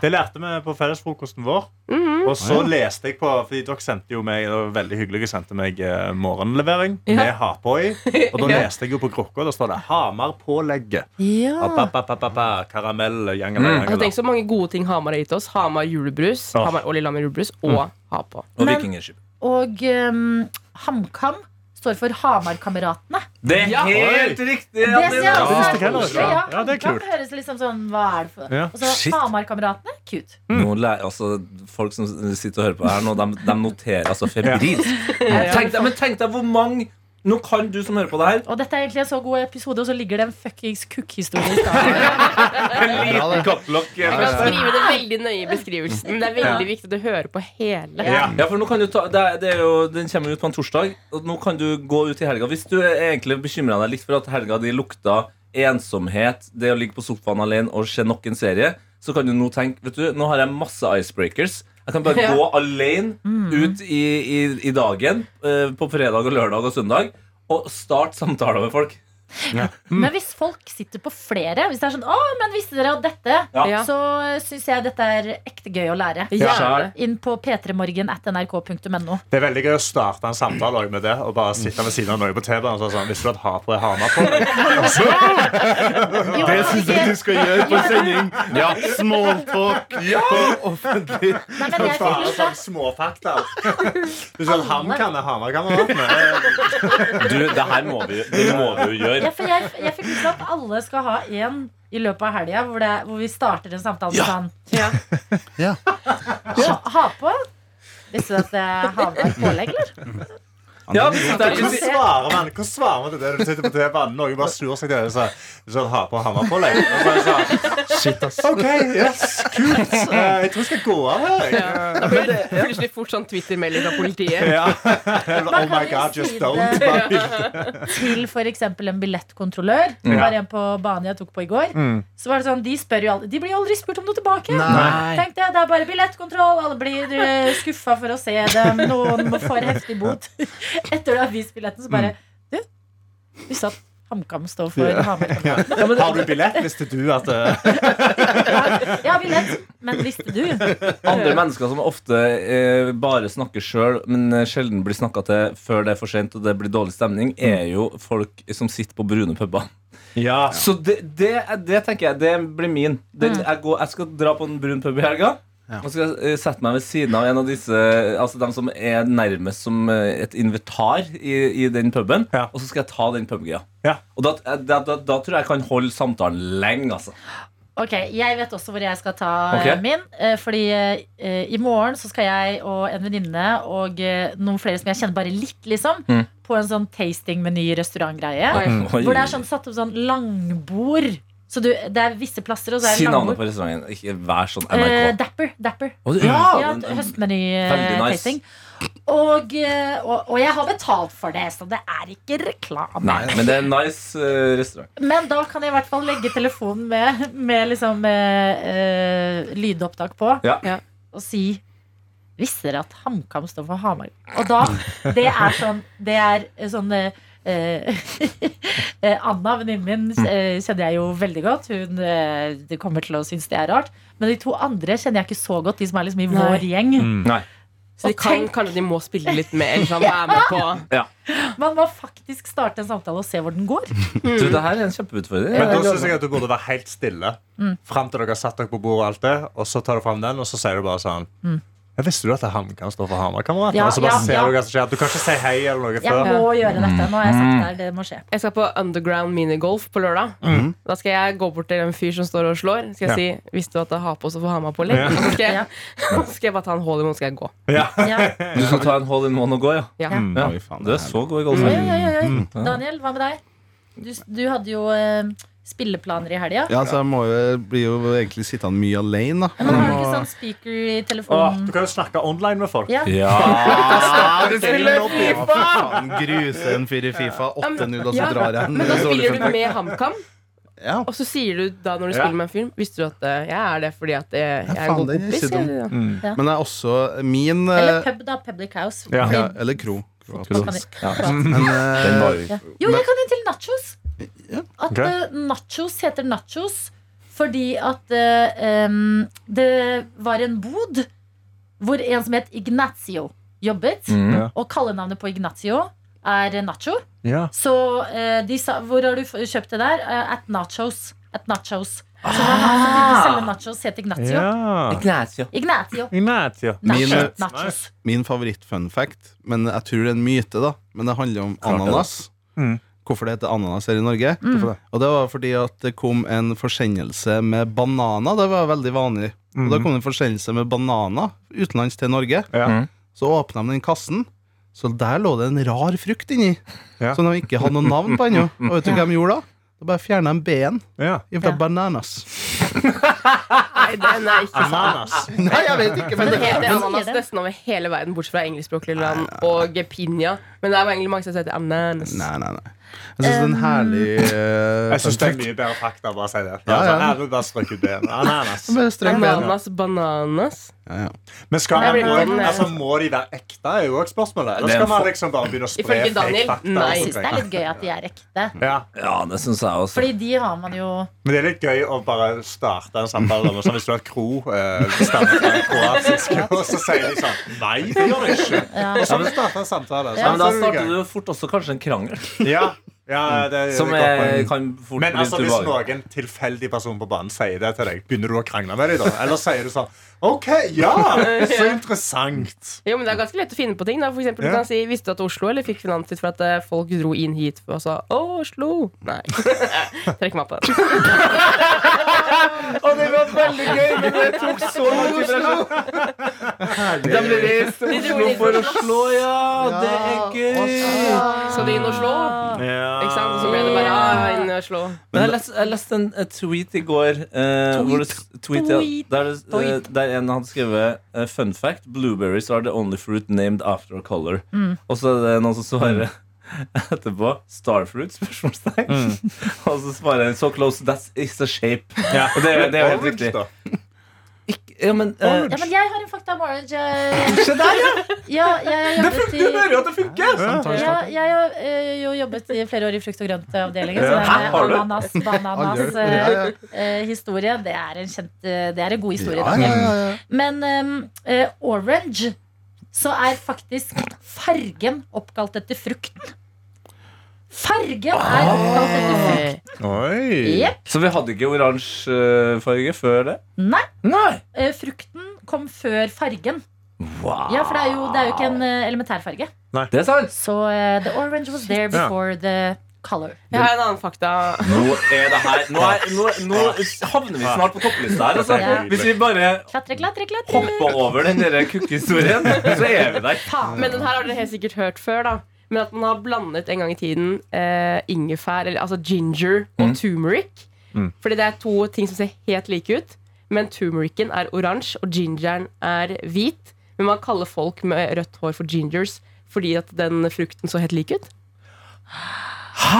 S4: Det lærte vi på fellesfrokosten vår. Og så leste jeg på Fordi dere sendte jo meg det var veldig hyggelig, dere sendte meg eh, morgenlevering med ha på i. Og da leste jeg jo på krukka, da står det Hamar pålegget.
S8: Ah.
S2: Ja.
S4: Appa, appa, appa, appa, Karamell, jangela,
S8: Altså,
S4: jangela.
S8: tenk så mange gode ting Hamar har gitt oss. Hamar julebrus,
S4: Åh.
S8: Hamar og Lillehammer julebrus, og ha på.
S6: Og
S2: Men-
S6: vikingskip.
S2: Og ehm, HamKam står for Hamarkameratene.
S6: Det er
S8: Ja.
S6: helt riktig!
S2: Det
S6: Anne.
S2: synes jeg også
S4: visste
S2: er
S4: ikke jeg heller.
S2: koselig. Ja,
S4: Ja, det er
S2: HamKam
S4: kult.
S2: høres liksom sånn Hva er det for
S4: Ja.
S2: Og så
S6: Shit.
S2: Hamarkameratene. Cute.
S6: Nå lærer, altså, folk som sitter og hører på her nå, de, de noterer altså febrilsk. Tenk deg, men tenk deg hvor mange Nå kan du som hører på det her,
S2: Og dette er egentlig en så god episode, og så ligger det en fuckings kukkhistorie i starten.
S6: en liten kattelokk.
S8: Vi kan skrive det veldig nøye i beskrivelsen. Det er veldig viktig at du hører på hele.
S6: Ja, for nå kan du ta, det er, det er jo, Den kommer ut på en torsdag, og nå kan du gå ut i helga. Hvis du er egentlig bekymra deg litt for at helga di lukta ensomhet, det å ligge på sofaen alene og se nok en serie, så kan du nå tenke Vet du, nå har jeg masse icebreakers. Jeg kan bare
S8: Ja.
S6: gå alene ut i, i, i dagen eh, på fredag og lørdag og søndag og starte samtaler med folk.
S2: Men hvis folk sitter på flere, hvis det er sånn 'Å, men visste dere at dette?'
S8: Ja.
S2: Så syns jeg dette er ekte gøy å lære.
S8: Gjerne.
S2: Inn på p3morgen at nrk.no.
S4: Det er veldig gøy å starte en samtale også med det og bare sitte ved siden av noen på TV-en og så sånn Visste du at ha på er Hamar pålegg?
S2: Jo, ikke-
S5: skal gjøre på sending. Ja, Smalltalk på offentlig
S2: Nei, men jeg fikk lyst til å-
S4: Småfakta. [LAUGHS] Du sier at han kan er Hamar-kameratene.
S6: Du, det her må vi, det må vi jo
S2: Ja,
S6: gjøre.
S2: for jeg, jeg fikk lyst til at alle skal ha en i løpet av helga hvor, det- hvor vi starter en samtale
S6: Ja.
S2: sånn.
S8: Ja.
S5: Ja.
S2: Ha, ha på. Visste du at det er havnar pålegg, eller?
S6: Ja,
S4: Hvordan svarer man Hvordan svarer man til det du sitter på TV-en? Noen bare snur seg til deg og sier Du sier at ha på Hamar pålegg. Og så er det sånn
S5: Shit, ass.
S4: OK, yes, kult. Eh, Jeg tror jeg skal gå av her. jeg.
S8: Da blir det plutselig fort sånn Twitter-melding fra politiet.
S4: Ja. Oh
S2: kan
S4: my
S2: jo
S4: god,
S2: si
S4: just
S2: det.
S4: don't. Bare-
S2: [LAUGHS] Til f.eks. en billettkontrollør. Det var en på banen jeg tok på i går.
S4: Mm.
S2: Så var det sånn, De, spør jo aldri, de blir jo aldri spurt om noe tilbake. Tenk det, det er bare billettkontroll. Alle blir skuffa for å se dem. Noen må få heftig
S4: [LAUGHS]
S2: bot. Etter du har vist billetten, så
S4: Mm.
S2: bare Du, vi satt HamKam står for Hamar.
S4: Har du billett? Visste du at eh,
S2: [LAUGHS]
S7: [LAUGHS]
S2: Ja, billett. Men visste du?
S6: Andre mennesker som ofte eh, bare snakker sjøl, men eh, sjelden blir snakka til før det er for sent og det blir dårlig stemning,
S4: Mm.
S6: er jo folk som sitter på brune puber.
S4: Ja.
S6: Så det, det, er- det tenker jeg, det blir min. Den, jeg, går, jeg skal dra på en brun pub i helga. Og skal eh, sette meg ved siden av en av disse Altså dem som er nærmest som eh, et inventar i, i den puben.
S4: Ja.
S6: Og så skal jeg ta den pubgreia.
S4: Ja.
S6: Og da, eh, da, da, da tror jeg jeg kan holde samtalen lenge, altså.
S2: Ok, Jeg vet også hvor jeg skal ta
S6: Ok.
S2: eh, min. eh, Fordi eh, i morgen så skal jeg og en venninne og eh, noen flere som jeg kjenner bare litt, liksom,
S6: Mm.
S2: på en sånn tasting-meny-restaurantgreie.
S6: Oi.
S2: Hvor det er sånn satt opp sånn langbord. Så du, det er visse plasser, og så er
S6: Si
S2: det
S6: navnet
S2: langbord.
S6: på restauranten. Ikke vær sånn
S2: Eh,
S6: NRK.
S2: Dapper. Dapper.
S6: Å, du-
S2: Ja,
S6: den- Veldig nice.
S2: Høstmeny-tasting. Og, eh, og, og jeg har betalt for det, så det er ikke reklame.
S6: Nei, men det er en nice eh, restaurant.
S2: Men da kan jeg i hvert fall legge telefonen med, med liksom, eh, eh, lydopptak på
S6: Ja.
S8: Ja.
S2: og si Visste dere at HamKam står for Hamar? Og da Det er sånn Det er sånn eh, eh, [LAUGHS] Anna, venninnen min, eh, kjenner jeg jo veldig godt. Hun eh, det kommer til å synes det er rart. Men de to andre kjenner jeg ikke så godt, de som er liksom i vår gjeng.
S6: Nei.
S8: Så de kan,
S2: tenk-
S8: kanskje de må spille litt mer, eller sånn, være med på
S2: Man må faktisk starte en samtale og se hvor den går.
S6: Du, det her er en kjempeutfordring.
S4: Men da synes jeg at du burde være helt stille
S2: Mm.
S4: Frem til dere har satt dere på bordet og alt det Og så tar du frem den, og så sier du bare sånn Jeg visste du at det ham kan stå for Hamar-kamerat
S2: Mm. Ja,
S4: Og så bare
S2: ja,
S4: ser
S2: ja.
S4: du hva som skjer Du kan ikke si hei eller noe
S2: Jeg
S4: før
S2: må gjøre dette. Nå har jeg sagt det her. Det må skje.
S8: Jeg skal på underground minigolf på lørdag. Da skal jeg gå bort til en fyr som står og slår. Skal jeg si 'Visste du at jeg har på så får ha meg på litt?'
S4: Ja.
S8: Og så skal,
S2: Ja.
S8: jeg- [LAUGHS] så skal jeg bare ta en hole i munnen, så skal jeg gå.
S2: Ja.
S6: Du skal ta en hole in one og gå, ja.
S8: Ja.
S7: Mm,
S6: ja.
S5: Oi, faen,
S6: Du
S5: det er
S6: er så god i
S2: Oi,
S6: golf.
S2: oi, oi, oi. Daniel, hva med deg? Du, du hadde jo eh, spilleplaner i helga.
S5: Ja, så jeg må jo, blir jo egentlig sittende mye alene, da.
S2: Men har du ikke sånn speaker i
S7: Åh, du
S2: telefonen?
S7: kan jo snakke online med folk.
S2: Ja.
S5: Du spiller Fifa! Faen, gruse en fyr i Fifa. 8-0, og så drar jeg en
S8: Men da
S5: dårlig
S8: spiller du
S5: følelse.
S8: med HamKam,
S5: Ja.
S8: og så sier du da når du
S7: Ja.
S8: spiller med en film Visste du at eh, jeg er det fordi at jeg, jeg er en
S5: faen,
S8: god
S5: den er
S8: kompis?
S5: ikke dum.
S8: eller?
S5: Men det er også min
S2: Eller
S5: eh,
S2: pub, da. Public House.
S7: Ja.
S5: ja, Eller kro.
S2: Hva kan de-
S6: Ja.
S5: Men, eh,
S6: Den var jo
S2: Ja. Jo, jeg kan jo til nachos. At
S7: Ok.
S2: eh, nachos heter nachos fordi at eh, em, det var en bod hvor en som het Ignacio, jobbet.
S6: Mm.
S2: Og kallenavnet på Ignacio er nacho.
S7: Ja.
S2: Så eh, de sa Hvor har du f- kjøpt det der? Eh, at nachos. At nachos. Så han som begynte å selge nachos, het Ignacio.
S7: Ja.
S6: Ignacio.
S2: Ignacio.
S7: Ignacio.
S2: Nacho,
S5: Min-
S2: nachos.
S5: Min favoritt-fun fact, men jeg tror det er en myte, da. Men det handler om
S6: Klart det.
S5: ananas.
S7: Mm.
S5: Hvorfor det heter ananas her i Norge. Og det var fordi at det kom en forsendelse med bananer. Det var veldig vanlig. Og da kom det en forsendelse med bananer utenlands til Norge.
S7: Ja.
S6: Mm.
S5: Så åpna de den kassen, så der lå det en rar frukt inni.
S7: Ja.
S5: Som de ikke hadde noe navn på ennå. Og vet du hva de gjorde da? Da bare fjerna de B-en
S7: Ja.
S5: ifra
S2: Ja.
S5: bananas. [LAUGHS]
S8: Nei, den er
S4: [LAUGHS]
S8: ikke sant.
S7: Ananas.
S5: Nei, jeg vet ikke,
S8: Men
S5: men
S8: det [LAUGHS]
S5: det
S8: heter
S2: Men-
S8: ananas nesten over hele verden, bortsett fra engelskspråklige land og piña. Men det er jo egentlig mange som heter ananas.
S5: Nei, nei, nei. Jeg syns det er en herlig eh,
S7: Jeg syns det er
S5: fun fact.
S7: mye bedre fakta, bare å si det.
S5: Ja, ja.
S7: Altså, her er det bare strøk ut det. Ananas.
S5: Bare strøk B-en.
S8: Ananas, bananas.
S5: Ja, ja.
S7: Men skal
S8: Jeg
S7: man,
S8: blir litt-
S7: altså, må de være ekte, er jo også spørsmålet.
S6: Det
S7: Eller
S6: er
S7: skal
S6: en
S7: man
S6: for-
S7: liksom bare begynne å spre
S8: Ifølge
S7: fake
S8: Daniel,
S7: fakta?
S8: nei.
S2: Jeg syns det er litt gøy at de er ekte.
S7: Ja,
S6: Ja, det syns jeg også.
S2: Fordi de har man jo
S7: men det er litt gøy å bare starte en samtale om sånn, Hvis du har et kro eh, stammer fra en kroatisk kro, og så sier de sånn Nei, det gjør det ikke.
S2: Ja.
S7: Og så vil du starte en samtale.
S6: Ja, men
S7: så er
S6: da
S7: det
S6: starter
S7: gøy.
S6: du jo fort også kanskje en krangel.
S7: Ja, ja, det, er
S6: Som
S7: et godt
S6: er,
S7: poeng.
S6: kan fort
S7: men
S6: bli
S7: altså, hvis
S6: tilbake.
S7: noen tilfeldig person på banen sier det til deg, begynner du å krangle med dem da? Eller sier du sånn OK, ja, så interessant.
S8: Jo, men Det er ganske lett å finne på ting. da For eksempel,
S7: Ja.
S8: Du kan si 'Visste du at Oslo?' eller 'Fikk finans for at eh, folk dro inn hit og sa 'Å, Oslo'. Nei. [LAUGHS] Trekk meg på den.
S6: Da blir vi Oslo for Oslo, ja! Det er gøy!
S8: Så det er inn og slå. Ikke sant? Og så ble det bare ah, inn og slå.
S6: Men jeg leste, jeg leste en et tweet i går eh, hvor det s- tweet, ja, der, det- eh, der en hadde skrevet eh, Fun fact, blueberries are the only fruit named after a color. Og så er det noen som svarer Mm. [LAUGHS] etterpå Starfruit? spørsmålstegn. [LAUGHS] Og så svarer en so close, that's is a shape. Og det, er- det er jo helt riktig. Ikke, ja, men, eh,
S2: Ja, men jeg har en fakta om orange. Se der, ja! jeg har jobbet i
S6: jo at det funker!
S2: ja, jeg har eh, jo jobbet i flere år i frukt- og grøntavdelingen. Så
S6: Ja.
S2: det
S6: Hæ,
S2: med
S6: har du?
S2: ananas, bananas
S5: Ja, ja,
S2: eh, eh, historie, det er en kjent eh, Det er en god historie.
S5: Ja, ja, ja, ja.
S2: Men em, eh, orange så er faktisk fargen oppkalt etter frukten. Fargen er oppkalt
S6: Ah.
S2: etter frukt.
S7: Oi.
S2: Jepp.
S6: Så vi hadde ikke oransje eh, farge før det?
S2: Nei.
S6: Nei!
S2: eh, Frukten kom før fargen.
S6: Wow.
S2: Ja, for det er jo, det er jo ikke en eh, elementærfarge.
S6: Det er sant!
S2: Så eh, the orange was there
S7: Ja.
S2: before the color.
S8: Jeg har en annen fakta.
S6: Nå er det her Nå, er, nå, nå havner vi snart på topplista her. Altså.
S2: Ja.
S6: Hvis vi bare
S2: Klatre, klatre, klatre.
S6: hopper over den der kukkehistorien, så er vi der.
S2: Faen.
S8: Men den her har dere helt sikkert hørt før, da. Men at man har blandet en gang i tiden eh, ingefær, eller altså ginger,
S6: Mm.
S8: og turmeric. Fordi det er to ting som ser helt like ut. Men turmericen er oransje, og gingeren er hvit. Men man kaller folk med rødt hår for gingers fordi at den frukten så helt lik ut.
S6: Hæ?!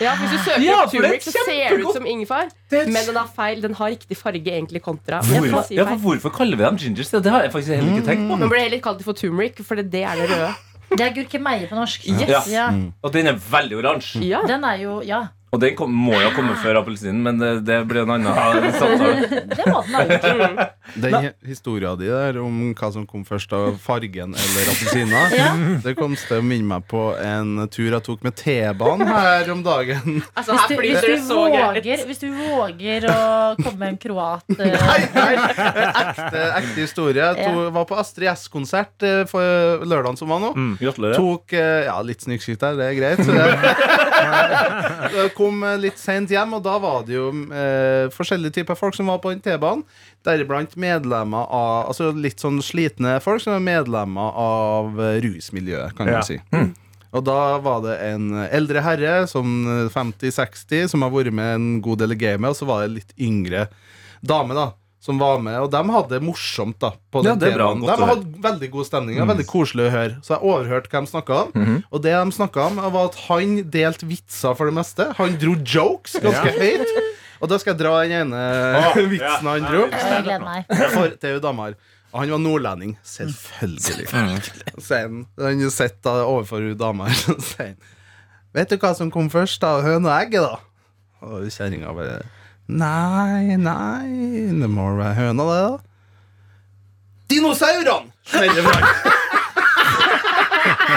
S8: Ja, Hvis du søker
S6: Ah. Ja,
S8: opp
S6: for det er
S8: turmeric, så ser det
S6: kjempegodt.
S8: ut som ingefær.
S6: Det er et-
S8: Men den har feil, den har riktig farge egentlig kontra. Jeg
S6: Hvorfor,
S8: får si Mm.
S6: ja, for
S8: feil.
S6: hvorfor kaller vi dem gingers? Det har jeg faktisk heller ikke tenkt
S8: Man
S6: på.
S8: burde heller kalt det for turmeric, for det det er det røde.
S2: Det er gurkemeie på norsk.
S6: Yes.
S2: Ja. Mm.
S6: Og den er veldig oransje.
S8: Ja.
S2: Den er jo Ja,
S6: Og den kom, må jo komme før appelsinen, men det, det blir en annen samtale.
S2: det må
S6: [LAUGHS]
S2: den ha gjort.
S5: Den he- historia di der om hva som kom først av fargen eller appelsina, det kom til å minne meg på en tur jeg tok med T-banen her om dagen.
S8: Altså,
S2: Hvis
S8: her
S2: du,
S8: flyter
S2: hvis,
S8: det
S2: du
S8: så greit.
S2: våger, hvis du våger å komme med en kroat
S6: [LAUGHS]
S2: eh,
S5: Ekte, ekte historie. Jeg to, var på Astrid S-konsert eh, for lørdagen som var nå.
S6: Gratulerer.
S5: Tok eh, Ja, litt snikskritt der, det er greit. Så jeg- jeg kom eh, litt seint hjem, og da var det jo eh, forskjellige typer folk som var på den T-banen. Deriblant medlemmer av Altså litt sånn slitne folk som er medlemmer av eh, rusmiljøet, kan
S7: Ja.
S5: man si. Og da var det en eldre herre, sånn 50-60, som har vært med en god del i gamet, og så var det litt yngre dame, da. Som var med, og de hadde det morsomt. da på
S6: Ja,
S5: den
S6: det er bra,
S5: temaen.
S6: godt å
S5: De
S6: høre. Mm.
S5: hadde veldig god stemning. og Veldig koselig å høre. Så jeg overhørte hva de snakka om.
S6: Mhm.
S5: Og det de snakka om, var at han delte vitser for det meste. Han dro jokes ganske høyt. Og da skal jeg dra den ene
S6: Ah,
S5: [LAUGHS] vitsen han dro.
S2: Jeg gleder meg.
S5: For det er jo damer Og han var nordlending, selvfølgelig Så han, han sett da overfor hun dama her, Så sier han Vet du hva som kom først da, høn og egget da? Og kjæringa bare Nei, nei Det må vel være høna det da Dinosaurene Smeller [LAUGHS] fra han.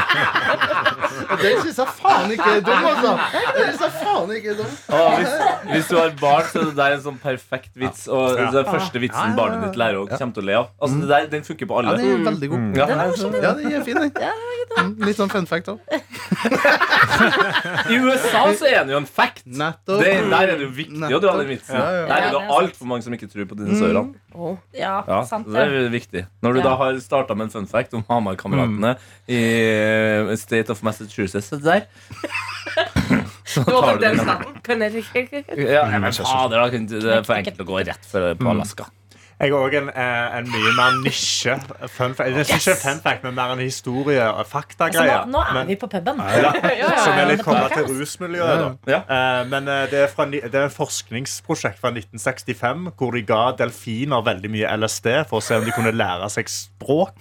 S5: Og Den synes jeg faen ikke er dum altså Den synes jeg faen ikke er dum
S6: Og hvis, hvis du har barn, så er det der en sånn perfekt vits. Og det er første vitsen barnet ditt lærer og kommer til å le av. Altså, det der, den funker på
S5: Mm. Ja, den
S6: alle.
S5: er veldig god
S6: Ja.
S5: Ja, den er fin den Mm, Litt sånn fun fact da
S6: I USA så er den jo en fact.
S5: Nettopp
S6: Det, der er det jo viktig å dra den vitsen.
S5: Ja, ja.
S6: Der er
S2: Ja,
S6: det
S2: det er
S6: altfor mange som ikke tror på dinosaurene.
S8: Åh.
S2: Ja,
S6: Ja,
S2: sant
S6: det
S2: det.
S6: er viktig. Når du da har starta med en fun fact om Hamar-kameratene i eh, State of Massachusetts så der Så
S8: Det var
S6: tar
S8: for
S6: du
S8: den
S6: den.
S8: staten. Connecticut.
S6: Ja, men fader, da kunne du- det er for enkelt å gå rett for, på Alaska.
S4: Jeg har òg en, eh, en mye mer nisje fun fact. Det er ikke en fun fact, men mer en historie- og
S2: Altså, nå,
S4: faktagreie.
S2: nå er
S4: Men-
S2: vi på puben.
S4: Ja, Som er litt
S2: Det
S4: kobla
S2: kan
S4: til rusmiljøet. Da.
S6: Ja.
S4: Eh, Men eh, det er, fra, ni- det er en forskningsprosjekt fra 1965 hvor de ga delfiner veldig mye LSD for å se om de kunne lære seg språk.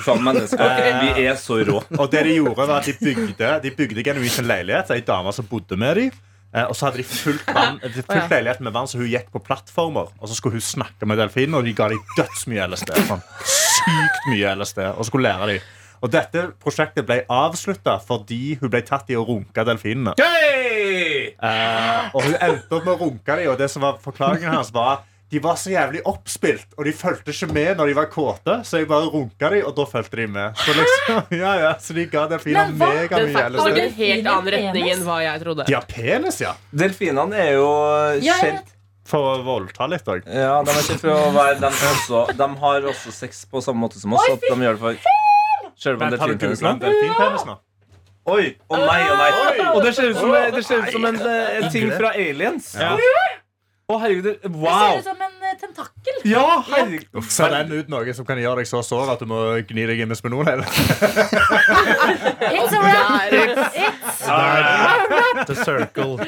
S6: Faen, [LAUGHS] mennesker, vi er så rå.
S4: Og det de gjorde var at de bygde De bygde genuint en leilighet Det er en dame som bodde med dem og så hadde de fulgt, vann, de fulgt leiligheten med vann Så hun gikk på plattformer Og så skulle hun snakke med delfinen Og de ga dem døds mye LSD sånn, Sykt mye LSD Og skulle lære dem Og dette prosjektet ble avsluttet Fordi hun ble tatt i å runke delfinene
S6: Hey!
S4: Eh, Og hun endte opp med å runke dem Og det som var forklaringen hans var De var så jævlig oppspilt Og de følte ikke med når de var kåte Så jeg bare runket dem og da følte de med Så liksom, [LAUGHS] ja ja Så de ga delfiner
S2: Men hva?
S4: mega
S8: Den
S4: mye
S8: fakten
S4: LSD
S8: går i en helt annen retning
S2: Penis?
S8: enn hva jeg trodde.
S4: sånn. De har penis, ja.
S6: Delfinene er jo
S2: Ja, jeg
S6: kjent
S2: vet.
S4: For å voldta litt òg.
S6: Ja, de er kjent for å være de, som også, de har også sex på samme måte som oss. At de gjør det for Selv om
S4: Har du
S6: delfinpenis
S4: googlet delfinpenis nå?
S6: Oi! Å nei, å nei. Og det ser ut som, det ser ut som en, eh, en ting fra Aliens. Å,
S4: Ja.
S6: herregud. det-
S2: Det ser
S6: Wow!
S2: ut som en eh, tentakel.
S6: Ja, herregud.
S4: Ser den ut noe som kan gjøre deg så sår at du må gni deg inn med spenol? hele tiden?
S2: It's a wrap. It's.
S5: The circle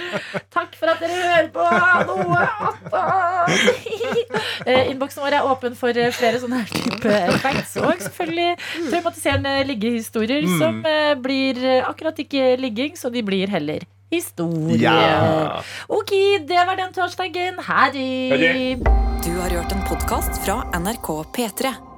S2: Takk for at dere hører på noe annet. Eh, Innboksen vår er åpen for eh, flere sånne her type facts. Og selvfølgelig traumatiserende liggehistorier som eh, blir eh, akkurat ikke ligging, så de blir heller historie.
S4: Ja.
S2: Ok, det var den torsdagen. Her i
S1: Du har hørt en podkast fra NRK P3.